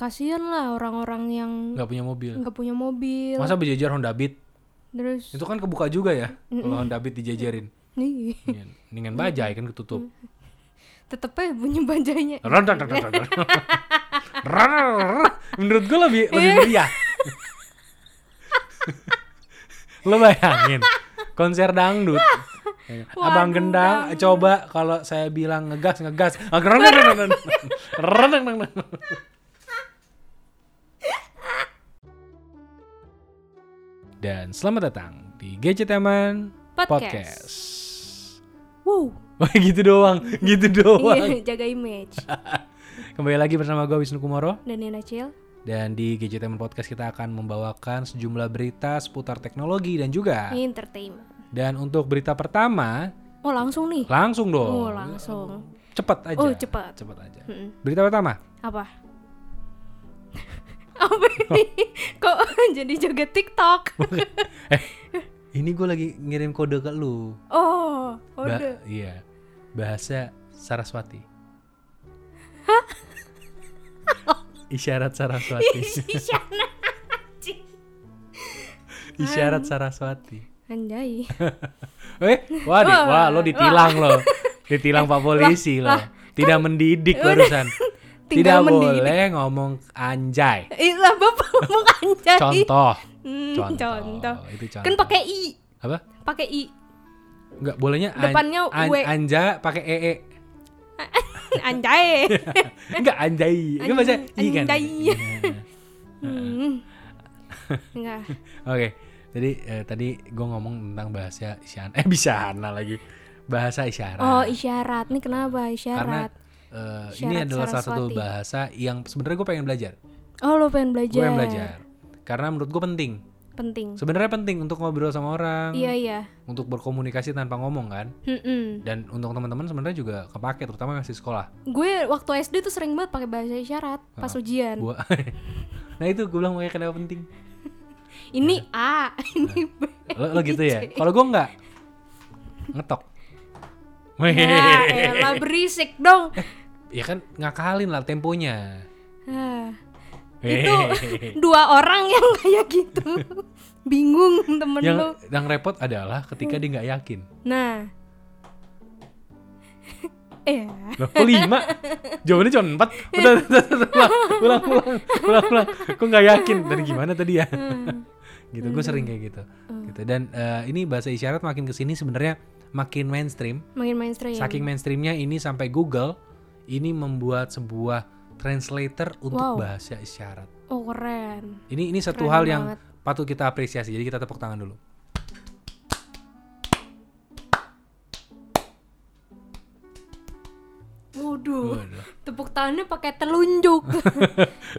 kasihan lah orang-orang yang nggak punya mobil nggak punya mobil masa berjejer Honda Beat terus itu kan kebuka juga ya kalau Honda Beat dijejerin nih Iya, dengan bajai kan ketutup tetep aja bunyi bajanya Rar, rar, rar, rar, rar. Rar, rar, rar. menurut gue lebih Iya. lebih meriah lo bayangin konser dangdut Waduh, abang gendang coba kalau saya bilang ngegas ngegas Ah, rar, rar, rar, rar. Rar, rar, rar, rar. dan selamat datang di Gadgeteman Podcast. Podcast. wow Wah gitu doang, gitu doang. Iya, jaga image Kembali lagi bersama gue Wisnu Kumoro dan Nina Cil Dan di Gadgetemen Podcast kita akan membawakan sejumlah berita seputar teknologi dan juga ini entertainment Dan untuk berita pertama, oh langsung nih langsung dong oh langsung Cepet aja Oh, cepet. Cepet aja Mm-mm. Berita pertama apa apa ini kok jadi joget TikTok Ini gue lagi ngirim kode ke lu oh Ba- udah Iya Bahasa Saraswati Isyarat Saraswati Isyana Isyarat Saraswati anjay Eh, wah, di- Wah, wah, lo ditilang lo, ditilang pak polisi lo, tidak mendidik barusan, kan tidak Tinggal mendidik. boleh ngomong anjay. Ih, lah bapak ngomong anjay Contoh, Hmm, contoh, contoh. itu contoh. kan pakai i apa? pakai i Enggak bolehnya Depannya W. Eh. anja pakai E ee. anjay Enggak anjay, itu bahasa i kan. Anjay. Iya. Hmm. enggak Oke, jadi eh, tadi gue ngomong tentang bahasa isyana, eh bisana lagi, bahasa isyarat. oh isyarat nih kenapa Karena isyarat eh, ini Isyarat adalah salah satu Saraswati. bahasa yang sebenarnya gue pengen belajar. oh lo pengen belajar gue yang belajar karena menurut gue penting penting sebenarnya penting untuk ngobrol sama orang iya iya untuk berkomunikasi tanpa ngomong kan Mm-mm. dan untuk teman-teman sebenarnya juga kepake terutama ngasih sekolah gue waktu SD tuh sering banget pakai bahasa isyarat pas ujian Ah. gua nah itu gue bilang makanya kenapa penting ini Iya. a ini b lo, lo gitu ya kalau gue nggak ngetok ya elah berisik dong ya kan ngakalin lah temponya Eh. Ah, itu dua orang yang kayak gitu bingung temen lo yang yang repot adalah ketika dia nggak yakin Nah. eh. Loh, kok lima? Jawabannya cuma empat. Iya. Udah, udah, udah, udah, ulang, ulang, ulang, ulang. Kok nggak yakin? Tadi gimana tadi ya? Hmm. gitu, gue sering kayak gitu. Gitu. Dan eh, ini bahasa isyarat makin kesini sebenarnya makin mainstream. Makin mainstream. Saking mainstreamnya ini sampai Google ini membuat sebuah translator untuk Wow. bahasa isyarat. Oh keren. Ini ini satu Keren hal yang banget. patut kita apresiasi. Jadi kita tepuk tangan dulu. Waduh. Waduh. Tepuk tangannya pakai telunjuk.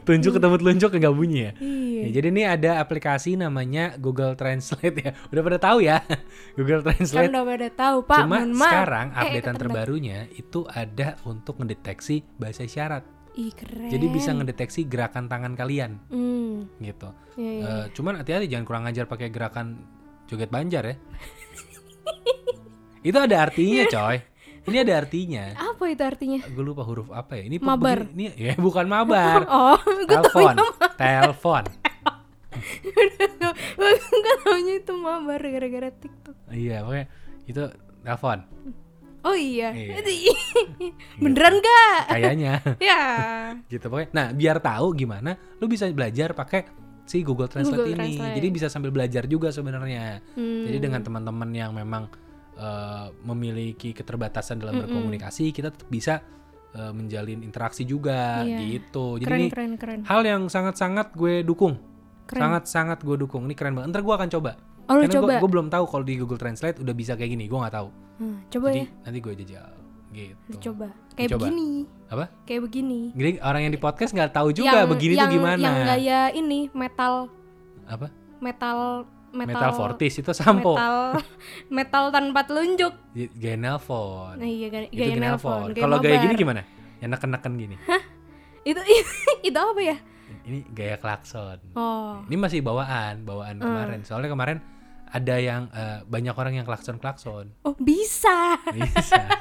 Tunjuk ketemu telunjuk nggak bunyi ya. Iya. Ya, jadi ini ada aplikasi namanya Google Translate ya. Udah pada tahu ya Google Kan Translate. udah pada tahu Pak. Cuma mohon maaf. sekarang Eh, updatean ketendang. terbarunya itu ada untuk ngedeteksi bahasa isyarat. Ih keren. Jadi bisa ngedeteksi gerakan tangan kalian Hmm. gitu. Iya, iya. Eh, cuman hati-hati jangan kurang ajar pakai gerakan joget banjar ya. itu ada artinya coy. Ini ada artinya. Apa itu artinya? Gue lupa huruf apa ya. Ini pe- Mabar. begini- Ini ya bukan mabar. Oh, gue Telepon. Telepon. gak taunya itu mabar gara-gara TikTok. Iya, pokoknya itu telepon. Oh iya. Iya. Beneran gak? kayaknya ya. gitu pokoknya nah biar tahu gimana lu bisa belajar pakai si Google Translate Google ini Translate. jadi bisa sambil belajar juga sebenarnya Hmm. jadi dengan teman-teman yang memang eh, memiliki keterbatasan dalam berkomunikasi kita tetap bisa eh, menjalin interaksi juga Iya. gitu jadi Keren, ini keren, keren. hal yang sangat-sangat gue dukung Keren. sangat-sangat gue dukung ini keren banget ntar gue akan coba Oh, lu karena gue- coba. gue belum tahu kalau di Google Translate udah bisa kayak gini gue nggak tahu Hmm, coba jadi ya. nanti gue jajal gitu Coba. Kayak Dicoba. begini. apa Kayak begini. Jadi orang yang di podcast nggak tahu juga begini yang, tuh gimana. Yang gaya ini metal Apa? metal metal Metal Fortis itu sampo. Metal metal tanpa telunjuk. G- Gaya nelpon. Nah iya gaya, itu gaya gaya nelpon. nelpon. Kalau gaya gini mabar. gimana? Enak-enakan gini. Itu itu apa ya? Ini gaya klakson. Oh. Ini masih bawaan, bawaan kemarin. Hmm. Soalnya kemarin ada yang eh, banyak orang yang klakson klakson. Oh, bisa. Bisa.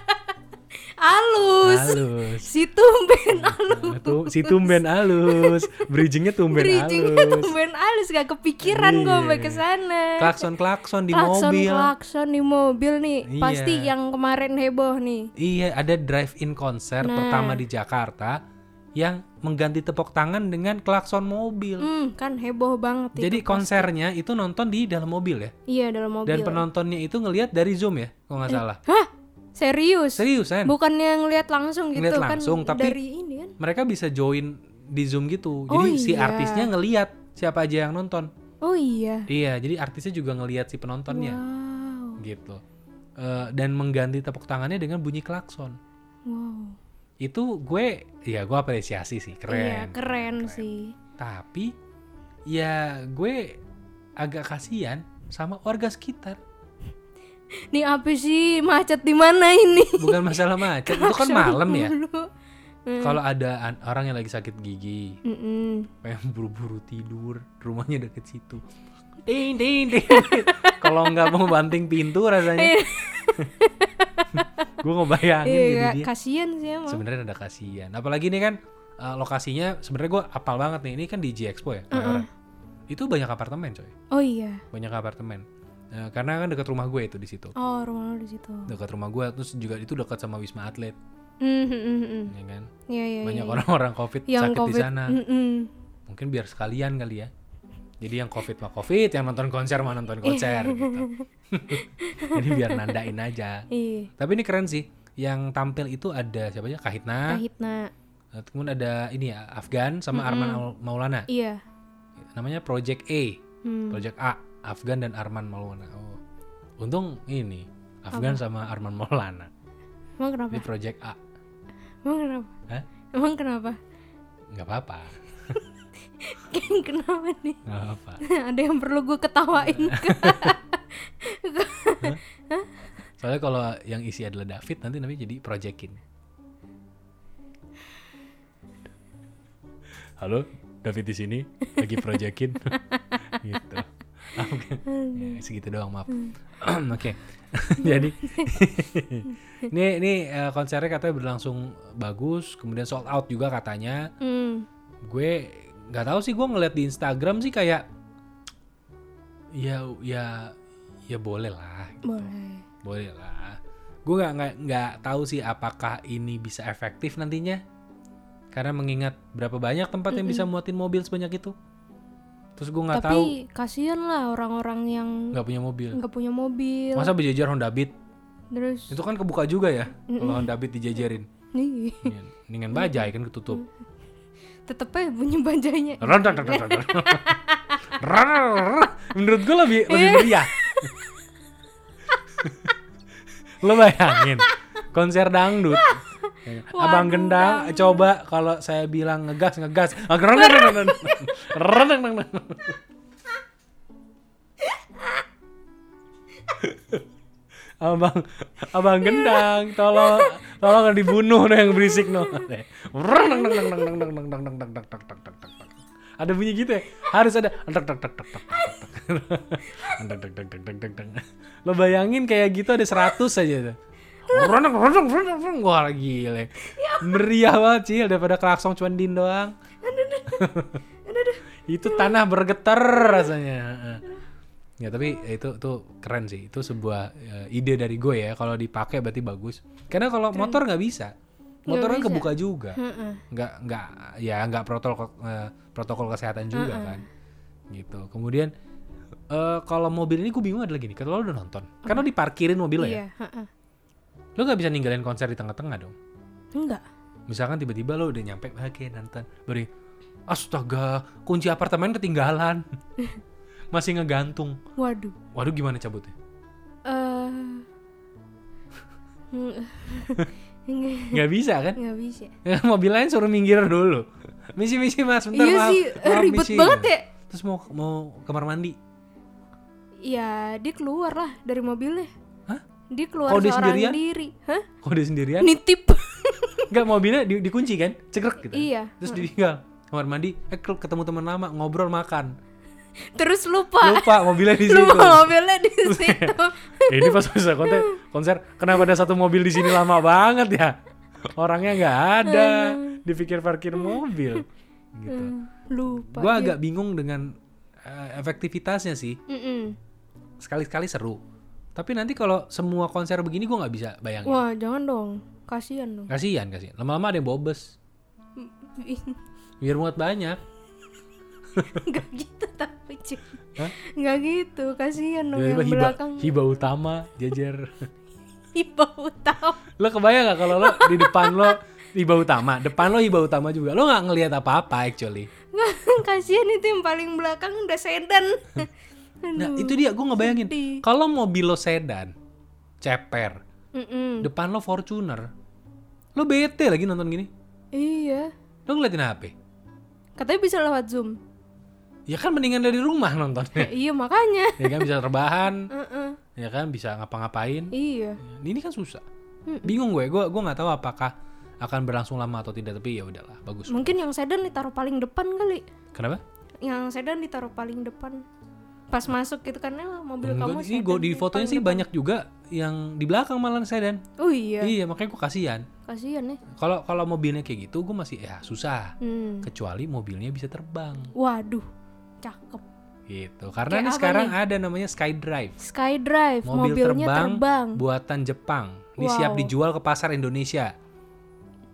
alus. Halus. Si tumben alus. Nah, Itu si tumben halus. Bridgingnya tumben Bridgingnya halus. tumben alus gak kepikiran gue sampai ke sana. Klakson-klakson Iya. di klakson, mobil. klakson di mobil nih. Iya. Pasti yang kemarin heboh nih. Iya, ada drive-in konser Nah. pertama di Jakarta yang mengganti tepuk tangan dengan klakson mobil. Hmm, kan heboh banget itu. Jadi konsernya itu nonton di dalam mobil ya. Iya dalam mobil. Eh. Dan penontonnya itu ngelihat dari Zoom ya, kalau nggak salah. Hah? Serius? Seriusan. Bukan yang lihat langsung gitu Ngeliat kan langsung, tapi- dari ini kan. Mereka bisa join di Zoom gitu. Oh, Jadi si iya. artisnya ngelihat siapa aja yang nonton. Oh iya. Iya, jadi artisnya juga ngelihat si penontonnya Wow. gitu. Eh, dan mengganti tepuk tangannya dengan bunyi klakson. Wow. Itu gue ya gue apresiasi sih, Iya, keren. keren, sih. Tapi ya gue agak kasihan sama warga sekitar. Nih apa sih macet di mana ini? Bukan masalah macet, itu kan Klakson malam ya. mulu. Hmm. Kalau ada an- orang yang lagi sakit gigi, Mm-mm. pengen buru-buru tidur, rumahnya deket situ. Ding ding ding. Kalau nggak mau banting pintu rasanya. gue ngebayangin Iya, jadi Kak, dia. kasihan sih emang. Sebenarnya ada kasihan. Apalagi ini kan eh, lokasinya sebenarnya gue apal banget nih. Ini kan di G Expo ya. Kemayoran. Itu banyak apartemen coy. Oh iya. Banyak apartemen. Eh, karena kan dekat rumah gue itu di situ. Oh, rumah lu di situ. Dekat rumah gue terus juga itu dekat sama Wisma Atlet, Mm, mm, mm, mm. ya kan? Iya, iya. Banyak iya. orang-orang Covid yang sakit COVID. Mm, di sana. Mm-mm. mungkin biar sekalian kali ya jadi yang covid mah covid yang nonton konser mah nonton konser gitu jadi biar nandain aja Iya. tapi ini keren sih yang tampil itu ada siapa aja Kahitna Kahitna. eh, kemudian ada ini ya Afgan sama Arman Maul- Maulana Iya. namanya Project A Hmm. Project A Afgan dan Arman Maulana oh untung ini Afgan sama Arman Maulana Emang kenapa? ini Project A Emang kenapa? Hah? Emang kenapa? nggak apa-apa kenapa nih? nggak apa-apa Ada yang perlu gue ketawain soalnya kalau yang isi adalah David nanti namanya jadi Projectin halo David di sini lagi Projectin gitu Oke. Ya, segitu doang maaf oke jadi ini ini eh, konsernya katanya berlangsung bagus kemudian sold out juga katanya Hmm. gue nggak tahu sih gue ngeliat di Instagram sih kayak ya ya ya boleh lah Boleh. boleh lah gue nggak nggak nggak tahu sih apakah ini bisa efektif nantinya karena mengingat berapa banyak tempat yang bisa muatin mobil sebanyak itu terus gue nggak tahu Tapi kasihan lah orang-orang yang nggak punya mobil nggak punya mobil. masa berjajar Honda Beat Terus itu kan kebuka juga ya kalau Honda Beat dijajarin nih dengan bajai kan ketutup tetep aja bunyi bajanya. Ron, ron, ron, ron, ron. Ron, ron, ron. menurut gue lebih lebih meriah lo bayangin konser dangdut Waduh, abang gendang coba kalau saya bilang ngegas ngegas Ron, ron, ron, ron, ron, ron, ron, ron. abang abang gendang tolong tolong dibunuh no yang berisik no Ron, ron, ron, ron, ron, ron, ron, ron, ron, ron, ron, ron, ron. ada bunyi gitu ya harus ada Ron, ron, ron, ron, ron, ron, ron, ron, ron, ron, ron, ron. lo bayangin kayak gitu ada 100 aja tuh Ron, ron, ron, ron, ron, ron. Wah gile Meriah banget sih Daripada klakson cuman din doang Itu tanah bergetar rasanya Heeh. Ya tapi itu tuh keren sih. Itu sebuah eh, ide dari gue ya. Kalau dipakai berarti bagus. Karena kalau motor nggak bisa. Motor kan kebuka juga. Heeh. Nggak nggak ya nggak protokol eh, protokol kesehatan juga kan. Gitu. Kemudian eh, kalau mobil ini gue bingung adalah gini. Kalau lo udah nonton, kan lo diparkirin mobil lo ya. Iya, heeh. Lo nggak bisa ninggalin konser di tengah-tengah dong. Enggak. Misalkan tiba-tiba lo udah nyampe bahagia nonton, baru astaga kunci apartemen ketinggalan, masih ngegantung. Waduh. Waduh gimana cabutnya? Eh. Nggak- Nggak nggak bisa kan nggak bisa. mobil lain suruh minggir dulu misi misi mas bentar Iya maaf, sih, maaf, ribet misi. banget ya. terus mau mau kamar mandi Ya, dia keluar lah dari mobilnya. Hah? Dia keluar Kalau dia seorang sendirian? Ya. diri. Hah? kok dia sendirian Nitip. nggak mobilnya di- dikunci kan cekrek gitu Iya. terus ditinggal kamar mandi eh kel- ketemu teman lama ngobrol makan terus lupa lupa mobilnya di situ lupa mobilnya di situ ini pas bisa konser konser kenapa ada satu mobil di sini lama banget ya orangnya nggak ada dipikir parkir mobil gitu Hmm, lupa gue dia. agak bingung dengan eh, efektivitasnya sih Mm-mm. sekali-sekali seru tapi nanti kalau semua konser begini gue nggak bisa bayangin wah jangan dong kasihan dong kasihan kasihan lama-lama ada yang bobes biar muat banyak nggak gitu tapi cuy Hah? nggak gitu kasihan dong yang tiba-tiba hiba belakang hiba utama jajar hiba utama lo kebayang gak kalau lo di depan lo hiba utama depan lo hiba utama juga lo nggak ngelihat apa-apa actually kasihan itu yang paling belakang udah sedan nah itu dia gue ngebayangin sedih. kalau mobil lo sedan ceper Mm-mm. depan lo fortuner lo bete lagi nonton gini iya lo ngeliatin hp katanya bisa lewat zoom ya kan mendingan dari rumah Ya, nontonnya iya makanya ya kan bisa rebahan Mm-mm. ya kan bisa ngapa-ngapain iya ini kan susah Hmm. bingung gue gue gue nggak tahu apakah akan berlangsung lama atau tidak tapi ya udahlah bagus mungkin yang sedan ditaruh paling depan kali kenapa yang sedan ditaruh paling depan pas masuk gitu karena mobil kamu Enggak, ini sedan gue di nih, fotonya paling sih banyak juga yang di belakang malah sedan depan. oh iya iya makanya gue kasihan kasihan ya kalau kalau mobilnya kayak gitu gue masih ya susah Hmm. kecuali mobilnya bisa terbang waduh cakep gitu karena Kayak ini apa sekarang ada namanya skydrive Skydrive mobil mobilnya terbang, terbang. buatan Jepang ini Hmm. Wow. siap dijual ke pasar Indonesia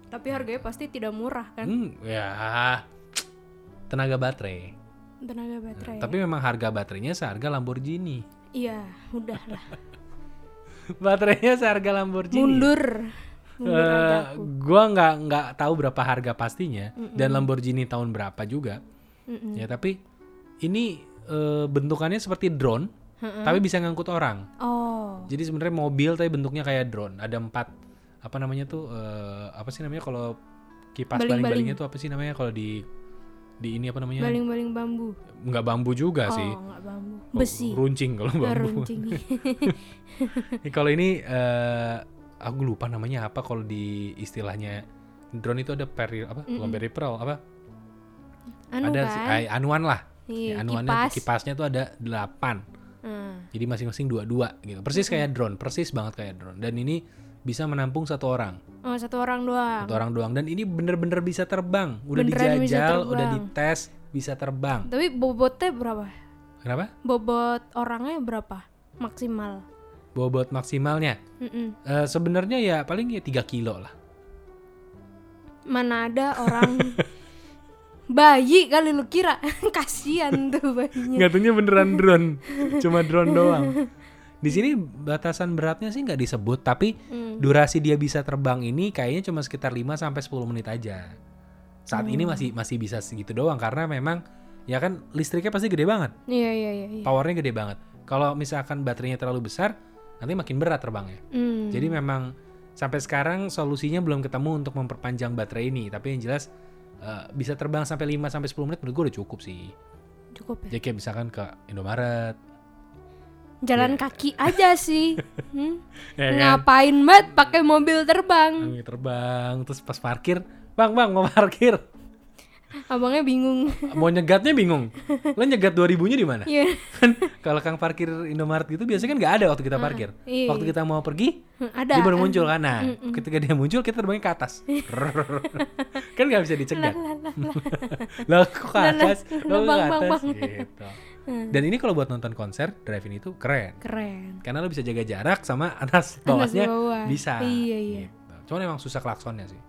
tapi harganya pasti tidak murah kan hmm ya tenaga baterai tenaga baterai Hmm. ya. tapi memang harga baterainya seharga Lamborghini iya udahlah baterainya seharga Lamborghini mundur Eh, mundur aja aku. gua nggak nggak tahu berapa harga pastinya dan Lamborghini tahun berapa juga Mm-mm. ya tapi ini eh, bentukannya seperti drone tapi bisa ngangkut orang oh jadi sebenarnya mobil tapi bentuknya kayak drone ada empat apa namanya tuh eh, apa sih namanya kalau kipas Baling-baling. baling-balingnya tuh apa sih namanya kalau di di ini apa namanya baling-baling bambu nggak bambu juga Ya. sih Oh, oh nggak bambu besi runcing kalau Eh, bambu runcing Ini kalau ini eh aku lupa namanya apa kalau di istilahnya drone itu ada peri apa bukan peripheral apa anu ada si- kan ay, anuan lah Iya, Ya, anuannya kipas tuh kipasnya tuh ada 8 Ah, jadi masing-masing dua-dua gitu persis kayak drone persis banget kayak drone dan ini bisa menampung satu orang oh satu orang doang satu orang doang dan ini bener-bener bisa terbang udah Beneran bisa dijajal udah terbang. dites bisa terbang tapi bobotnya berapa kenapa bobot orangnya berapa maksimal bobot maksimalnya Mm-mm. Eh, sebenarnya ya paling ya 3 kilo lah mana ada orang bayi kali lu kira kasihan tuh bayinya Ngatunya beneran drone, cuma drone doang. Di sini batasan beratnya sih nggak disebut, tapi Hmm. durasi dia bisa terbang ini kayaknya cuma sekitar 5 sampai 10 menit aja. Saat ini Hmm. masih masih bisa segitu doang karena memang ya kan listriknya pasti gede banget, iya iya iya iya. powernya gede banget. Kalau misalkan baterainya terlalu besar, nanti makin berat terbangnya. Hmm. Jadi memang sampai sekarang solusinya belum ketemu untuk memperpanjang baterai ini, tapi yang jelas eh, bisa terbang sampai 5 sampai 10 menit menurut gue udah cukup sih. cukup ya Jadi kayak misalkan ke Indomaret, jalan Iya. kaki aja sih Hmm? ya kan? ngapain banget pakai mobil terbang Angin terbang terus pas parkir bang bang mau parkir abangnya bingung mau nyegatnya bingung lo nyegat 2000 nya di mana Iya. kan kalau kang parkir Indomaret gitu biasanya kan nggak ada waktu kita parkir iya. ah. waktu kita mau pergi ada dia baru muncul kan nah ketika dia muncul kita terbangnya ke atas kan nggak bisa dicegah lo kok ke atas lo Nah, kok Bang, ke bang, atas bang. Hmm. gitu dan ini kalau buat nonton konser drive in itu keren keren karena lo bisa jaga jarak sama atas bawahnya bawah. bisa Iya, iya. gitu. cuman emang susah klaksonnya sih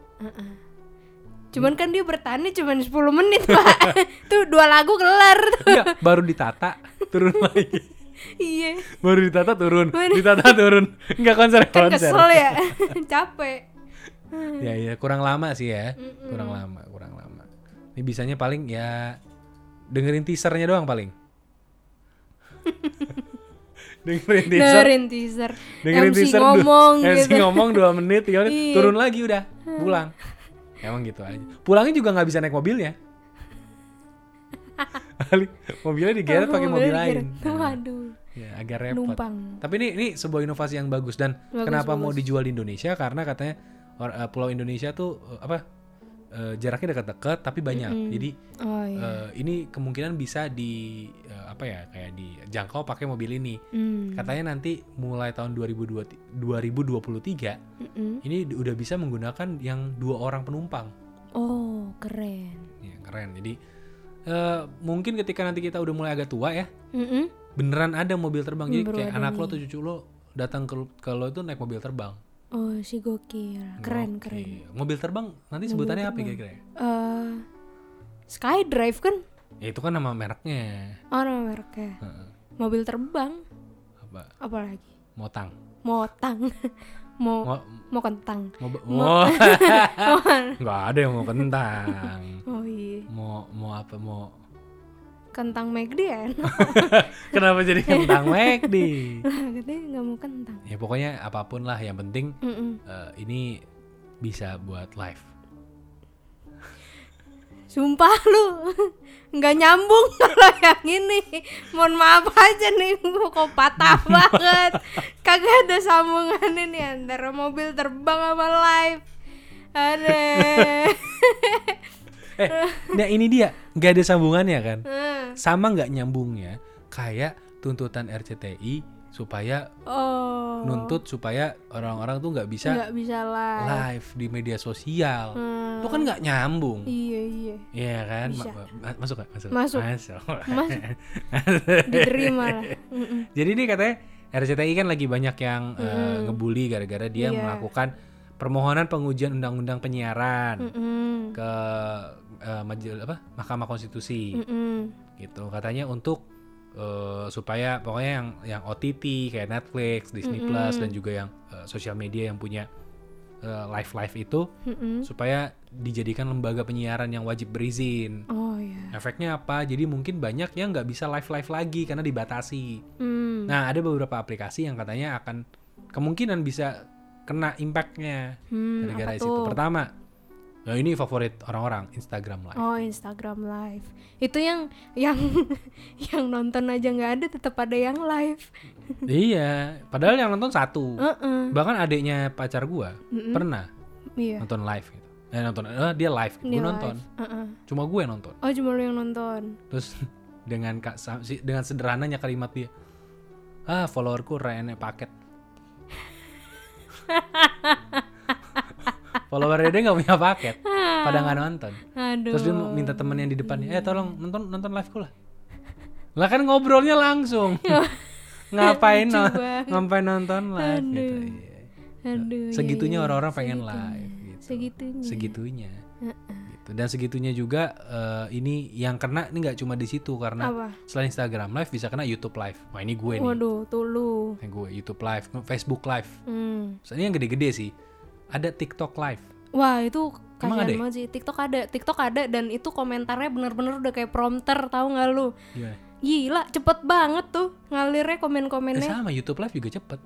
cuman kan dia bertahannya cuman 10 menit pak tuh dua lagu kelar tuh Enggak, baru ditata turun lagi. iya Baru ditata turun, Mana? ditata turun. Enggak konser kan konser. kesel ya capek Ya ya kurang lama sih ya. Kurang lama, kurang lama. Ini bisanya paling ya dengerin teasernya doang paling. dengerin teaser, dengerin teaser dengerin MC teaser du- ngomong MC gitu ngomong 2 menit, 3 menit, Iya. turun lagi udah, pulang. Emang gitu aja. Pulangnya juga nggak bisa naik mobilnya. mobilnya digeret pakai mobil Mobilnya lain. digeret. gitu. waduh Ya, agak repot. numpang Tapi ini ini sebuah inovasi yang bagus dan Bagus, kenapa mau dijual di Indonesia karena katanya or- eh, pulau Indonesia tuh eh, apa eh, jaraknya dekat-dekat tapi banyak. Mm-mm. Jadi Oh iya. eh, ini kemungkinan bisa di eh, apa ya kayak dijangkau pakai mobil ini. Hmm. Katanya nanti mulai tahun 2020 2023 Mm-mm. ini di- udah bisa menggunakan yang dua orang penumpang. Oh keren. Ya, keren. Jadi eh, mungkin ketika nanti kita udah mulai agak tua ya, Mm-mm. beneran ada mobil terbang. Jadi Baru kayak ada anak lo nih. atau cucu lo datang ke, ke lo itu naik mobil terbang. Oh si gokil. Keren Oke. keren. Mobil terbang nanti sebutannya apa ya kira-kira? ya? Eh Skydrive kan? Ya itu kan nama mereknya. Oh nama mereknya. Heeh. Mobil terbang. Apa? Apalagi? Motang. Motang. mau Mo, mau kentang. mo, mo- nggak ada yang mau kentang. Oh iya. Mau mau apa mau? Kentang McD ya. enak. Kenapa jadi kentang McD? Katanya nggak mau kentang. Ya pokoknya apapun lah yang penting Mm-mm. eh, ini bisa buat live. Sumpah lu nggak nyambung kalau yang ini. Mohon maaf aja nih, gua kok patah banget. Kagak ada sambungannya nih antara mobil terbang sama live. Ada. Eh, nah ini dia nggak ada sambungannya kan? Sama nggak nyambungnya kayak tuntutan RCTI supaya oh. nuntut supaya orang-orang tuh nggak bisa Nggak bisa live. live di media sosial. Hmm. Itu kan nggak nyambung. Iya iya. Iya kan? Ma- Bisa. ma- ma- masuk nggak? Masuk. Masuk. Masuk. Diterima lah. Mm-mm. Jadi ini katanya RCTI kan lagi banyak yang eh, Mm-mm. ngebully gara-gara dia Hmm. Iya. melakukan permohonan pengujian undang-undang Hmm. penyiaran Mm-mm. ke eh, majel- apa? Mahkamah Konstitusi Mm-mm. gitu. Katanya untuk eh, supaya pokoknya yang yang OTT kayak Netflix, Disney Hmm. Plus dan juga yang eh, sosial media yang punya live live itu Mm-mm. supaya dijadikan lembaga penyiaran yang wajib berizin. Oh ya. Efeknya apa? Jadi mungkin banyak yang nggak bisa live-live lagi karena dibatasi. Hmm. Nah, ada beberapa aplikasi yang katanya akan kemungkinan bisa kena impactnya Hmm, gara-gara apa itu. tuh? Pertama, nah ini favorit orang-orang Instagram Live. Oh Instagram live itu yang yang yang nonton aja nggak ada tetap ada yang live. iya, padahal yang nonton satu. Heeh. Hmm? Bahkan adiknya pacar gua pernah Iya. nonton live gitu. Eh, nonton, eh, dia live, Ini gue nonton. live. Heeh. Cuma gue yang nonton. Oh cuma lu yang nonton. Terus dengan kak sa- si- dengan sederhananya kalimat dia, ah followerku Ryan paket. Followernya dia nggak punya paket, pada nggak nonton. Aduh. Terus dia mau minta temen yang di depannya, eh tolong nonton nonton liveku lah. Lah kan ngobrolnya langsung. ngapain Iya. Lucu no- banget. ngapain nonton live gitu. Aduh. Iya. Aduh. Segitunya iya, iya. orang-orang pengen Segitunya. live gitu. Segitunya. Segitunya. Gitu. Dan segitunya juga eh, ini yang kena ini nggak cuma di situ karena Apa? selain Instagram Live bisa kena YouTube Live. Wah ini gue nih, Waduh, tuh lu. Ini gue YouTube Live, Facebook Live. Hmm. Soalnya yang gede-gede sih. Ada TikTok Live. Wah itu Emang kasihan ada ya? banget sih. TikTok ada, TikTok ada dan itu komentarnya bener-bener udah kayak prompter tahu nggak lu? Iya. Gila, cepet banget tuh ngalirnya Eh, komen-komennya. sama YouTube Live juga cepet.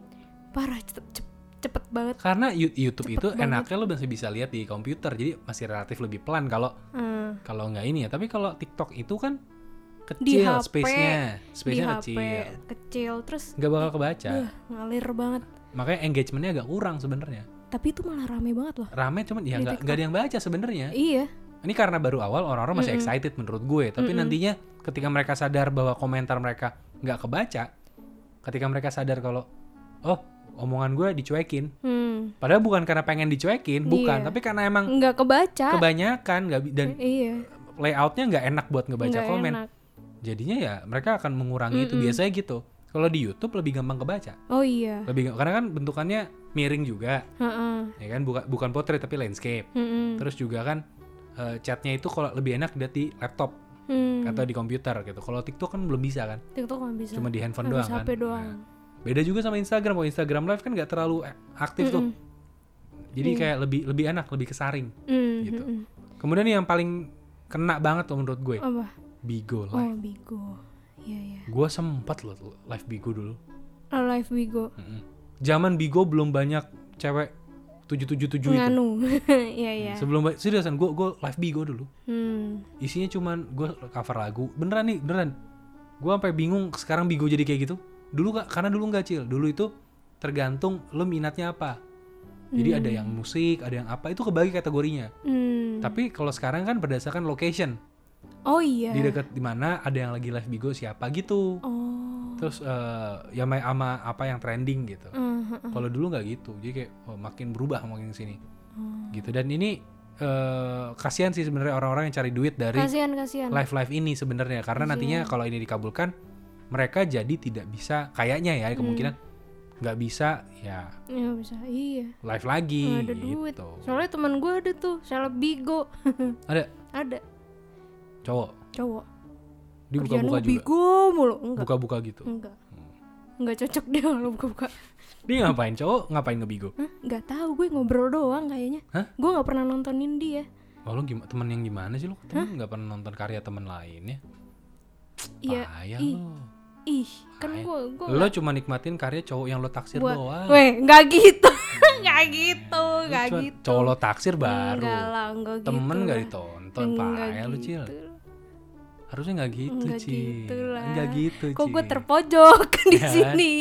Parah, cepet, cep- cepet banget. Karena Yu- YouTube Cepet itu banget. enaknya lo masih bisa lihat di komputer, jadi masih relatif lebih pelan kalau Hmm. kalau nggak ini ya. Tapi kalau TikTok itu kan Di kecil HP, space-nya, di Iya. space-nya HP kecil, kecil terus nggak bakal kebaca. duh, ngalir banget Makanya engagementnya agak kurang sebenarnya. tapi itu malah rame banget loh Rame cuman ya Di nggak TikTok. nggak ada yang baca sebenarnya. iya Ini karena baru awal orang-orang masih excited menurut gue. Tapi nantinya ketika mereka sadar bahwa komentar mereka nggak kebaca, ketika mereka sadar kalau oh omongan gue dicuekin, hmm. padahal bukan karena pengen dicuekin, bukan, Iya. tapi karena emang nggak kebaca kebanyakan nggak bi- dan iya layoutnya nggak enak buat ngebaca nggak komen. enak. Jadinya ya mereka akan mengurangi itu biasanya gitu. Kalau di YouTube lebih gampang kebaca, oh iya lebih gam- karena kan bentukannya miring juga, Heeh. ya kan bukan bukan portrait tapi landscape. Mm-mm. Terus juga kan eh, chatnya itu kalau lebih enak dilihat di laptop Hmm. atau di komputer gitu. Kalau TikTok kan belum bisa kan, TikTok nggak bisa cuma di handphone Harus doang kan. HP doang. Nah, beda juga sama Instagram. Kalau Instagram Live kan nggak terlalu eh, aktif tuh. Jadi Iya. kayak lebih lebih enak, lebih kesaring. Hmm, gitu. mm-mm. Kemudian yang paling kena banget tuh menurut gue, apa Bigo Live. oh Bigo iya iya Gue sempet loh live Bigo dulu. Oh, live Bigo Mm-mm. Zaman Bigo belum banyak cewek 777 itu. nganu iya iya Sebelum ba- seriusan gue gue live Bigo dulu. hmm. Isinya cuman gue cover lagu. Beneran nih, beneran. Gue sampai bingung sekarang Bigo jadi kayak gitu. Dulu kak, karena dulu nggak cil. Dulu itu tergantung lo minatnya apa. Jadi ada yang musik, ada yang apa, itu kebagi kategorinya. Hmm. Tapi kalau sekarang kan berdasarkan location. Oh iya. Di dekat di mana ada yang lagi live bigo siapa gitu. Oh. Terus eh, ya main ama apa yang trending gitu. Mhm. Kalau dulu nggak gitu. Jadi kayak oh, makin berubah makin sini. Oh. Gitu dan ini eh, kasihan sih sebenarnya orang-orang yang cari duit dari Kasihan kasihan. Iya. live-live ini sebenarnya karena nantinya kalau ini dikabulkan mereka jadi tidak bisa kayaknya ya Hmm. kemungkinan nggak bisa ya Ya bisa. Iya. live lagi Nggak ada duit. gitu. Soalnya teman gue ada tuh, seleb bigo. Ada ada cowok cowok. dia Kerjaan lu buka-buka juga. Hmm. bigo mulu. Enggak. Buka-buka gitu. Enggak. Enggak cocok deh kalau buka-buka. Dia ngapain cowok? Ngapain ngebigo? Hah? Enggak tahu gue ngobrol doang kayaknya. Hah? Gue nggak pernah nontonin dia. Oh, lu gimana temen yang gimana sih lu? Temen nggak pernah nonton karya temen lainnya. Iya. Payah ih. lu. Ih, kan Ah, Hai. gue gue Lo cuma nikmatin karya cowok yang lo taksir Gua- doang. Weh, nggak gitu. nggak gitu, Lu nggak cuma gitu. Cowok lo taksir Enggak baru. lah, enggak gitu. Temen nggak lah. ditonton, Enggak payah lu Cil. gitu. Harusnya nggak gitu, Enggak Cil. gitu lah. Nggak gitu, Kok gue Cil. terpojok di Ya kan? sini?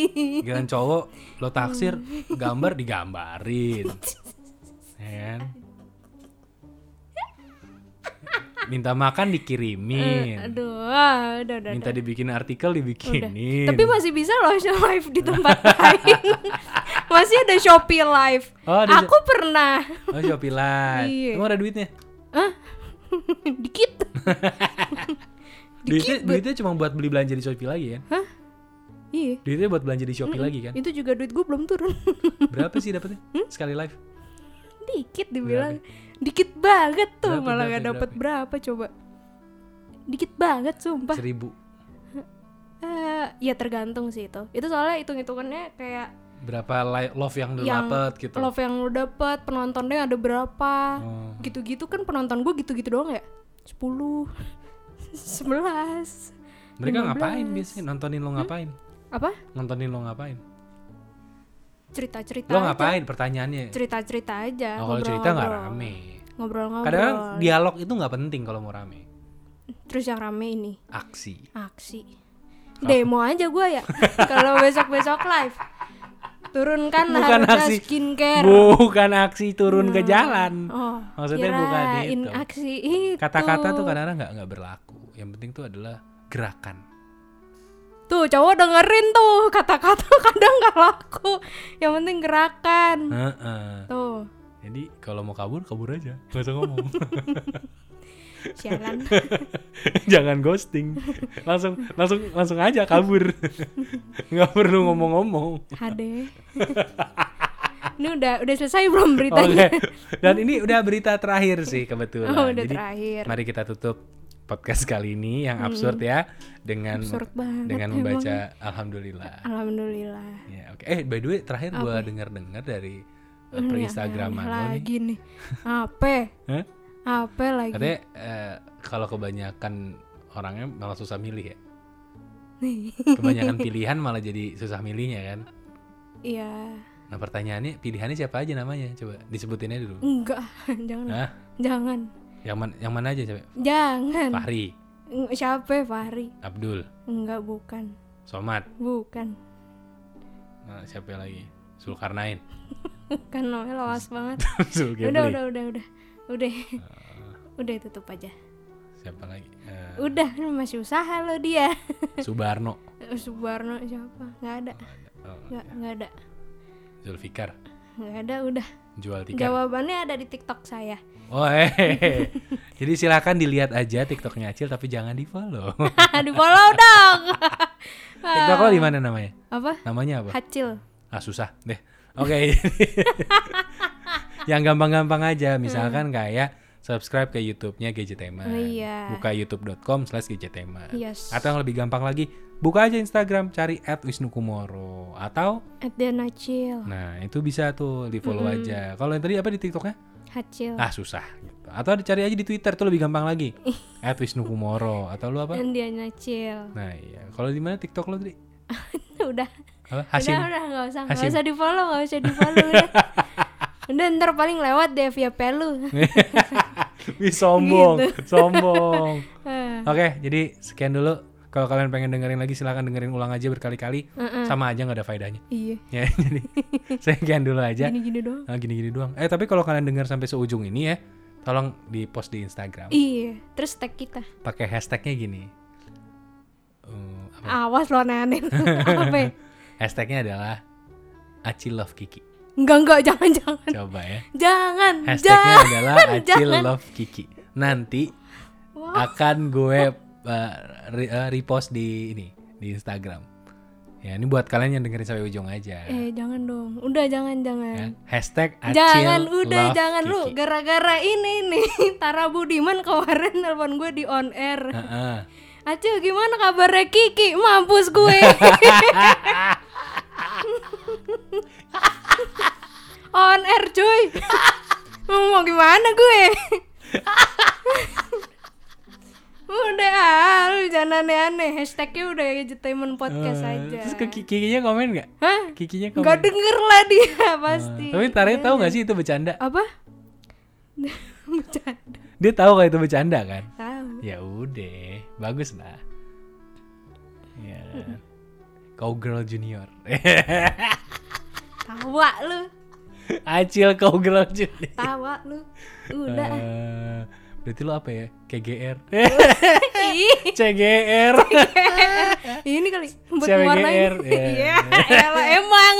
Giliran cowok lo taksir, gambar digambarin. Ya kan? Minta makan dikirimin. Aduh, ah, udah, udah, Minta udah. dibikin artikel dibikinin. Tapi masih bisa loh live di tempat lain. masih ada Shopee live. Oh, ada Aku pernah. Oh Shopee Live. Iya. Emang ada duitnya? Dikit. Duitnya, duitnya cuma buat beli belanja di Shopee lagi kan? Iya. Duitnya buat belanja di Shopee lagi kan? Itu juga duit gue belum turun. Berapa sih dapetnya? Sekali live? Dikit dibilang. Dikit banget tuh Berapa, malah berapa, gak dapet berapa coba. Dikit banget sumpah. Seribu. Eh, ya tergantung sih itu. Itu soalnya hitung-hitungannya kayak Berapa li- love yang lu Yang dapet gitu? love yang lu dapet, penontonnya ada berapa. Oh. Gitu-gitu kan penonton gue gitu-gitu doang ya. 10 11 Mereka ngapain biasanya? Nontonin Hmm? lo ngapain? apa? Nontonin lo ngapain? Cerita-cerita. Lo aja. ngapain? Pertanyaannya. Cerita-cerita aja. Oh, kalau ngobrol-ngobrol. cerita nggak rame. Ngobrol-ngobrol. Kadang dialog itu nggak penting kalau mau rame. Terus yang rame ini Aksi. aksi. Demo aja gue ya. Kalau besok-besok live. Turunkan Bukan harga aksi. skincare. Bukan aksi turun ke jalan. Oh, gitu. Maksudnya bukan kirain itu. aksi itu. Kata-kata tuh kadang-kadang nggak nggak berlaku. Yang penting tuh adalah gerakan. Tuh cowok dengerin tuh kata-kata kadang nggak laku. Yang penting gerakan. Heeh. Tuh Jadi kalau mau kabur, kabur aja. Gak usah ngomong. sialan. Jangan ghosting. Langsung langsung langsung aja kabur. Nggak perlu ngomong-ngomong. HD. Ini udah udah selesai belum Oke. beritanya? Oh, iya. Dan ini udah berita terakhir sih kebetulan. Oh, udah Jadi terakhir. Hmm. mari kita tutup podcast kali ini yang absurd ya dengan Absurd banget dengan emang. ya. membaca alhamdulillah. Alhamdulillah. Ya, oke. Eh, by the way, terakhir gua dengar-dengar dari eh, Ini perinstagraman aneh-aneh Hmm, lo nih. ya, Iya, lagi nih. Apa? Hah? Apa lagi? Katanya eh, kalau kebanyakan orangnya malah susah milih ya. Kebanyakan pilihan malah jadi susah milihnya kan. Iya. Nah pertanyaannya pilihannya siapa aja namanya? Coba disebutinnya dulu. Enggak, jangan. Hah? Jangan. Yang mana yang mana aja coba? Jangan. Fahri, Eng- Siapa Fahri? Abdul, Enggak, bukan. Somad, Bukan. nah, siapa lagi? Zulkarnain, Kan Noel awas banget. Udah, Zulkifli, udah, udah, udah. Udah. Udah tutup aja. siapa lagi? Eh, Udah, lu masih usaha lo dia. Eh, Subarno, Subarno siapa? Nggak ada. Oh, Nggak, nggak ada. Zulfikar, Nggak ada, udah. jual tikar. Jawabannya ada di TikTok saya. Oh, hehehe. Jadi silakan dilihat aja TikToknya Acil tapi jangan di follow. di follow dong. TikTok lo di mana namanya? Apa? Namanya apa? Hacil. Ah susah deh. Oke. Yang gampang-gampang aja, misalkan kayak subscribe ke YouTube-nya Gadgetema. Hmm. Oh, iya. Buka youtube.com/gadgetema. Yes. Atau yang lebih gampang lagi, buka aja Instagram cari @wisnukumoro atau At the Hacil. nah itu bisa tuh di follow aja. Kalau yang tadi apa di TikToknya? Hacil. Ah susah. Gitu. Atau cari aja di Twitter tuh lebih gampang lagi. @wisnukumoro atau lu apa? Dan dia nyacil. Nah iya. Kalau di mana TikTok lo tadi? udah. Apa? Hasim. Udah, udah, nggak usah. Nggak Hasim. usah di follow, nggak usah di follow. udah. udah, ntar paling lewat deh via pelu. Iya. Wih sombong, sombong. Eh, Oke, jadi sekian dulu Kalau kalian pengen dengerin lagi silahkan dengerin ulang aja berkali-kali. Sama aja nggak ada faedahnya. Iya. Ya, jadi sekian dulu aja. Gini-gini doang. Nah, gini-gini doang. Eh, tapi kalau kalian dengar sampai seujung ini ya, tolong di-post di Instagram. Iya. Terus tag kita. Pakai hashtagnya gini. Hmm, apa? Awas lo aneh-aneh. lu. Apa? ya? hashtagnya adalah Aci Love Kiki. Enggak enggak jangan jangan. Coba ya. Jangan. Hashtagnya Jangan. adalah Acil jangan. Love Kiki. Nanti Wah, akan gue uh, re- uh, repost di ini di Instagram. Ya ini buat kalian yang dengerin sampai ujung aja. Eh jangan dong. Udah jangan Ya. jangan. Hashtag Acil Eh. Jangan udah Love jangan lu Kiki. gara-gara ini nih Tara Budiman kemarin telepon gue di on air. Heeh. Acil gimana kabarnya Kiki? Mampus gue. On air cuy. Mau mau gimana gue? udah ah, lu jangan aneh-aneh. Hashtagnya udah entertainment podcast Eh, aja. Terus ke Ki- Kikinya komen nggak? Hah? Kikinya komen. Gak denger lah dia Nah, pasti. Tapi Tari tahu nggak sih itu bercanda? Apa? Bercanda. Dia tahu kalau itu bercanda kan? Tahu. Ya udah, bagus lah. Ya. Kau girl junior. Tawa lu. Acil kau girl junior. Tawa lu. Udah. ah. Eh, berarti lo apa ya? KGR. Ih. CGR. ini kali buat Cewek warnain GR, ya. iya elah, emang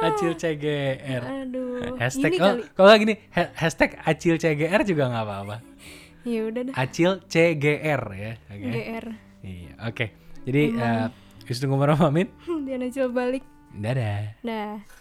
Acil CGR. aduh Hashtag ini oh, kali kalau nggak gini ha- hashtag Acil CGR juga nggak apa-apa. ya udah dah Acil CGR ya. Oke. gr Iya, oke. Jadi eh Yusuf Kumar pamit. Diana coba balik Dadah. dah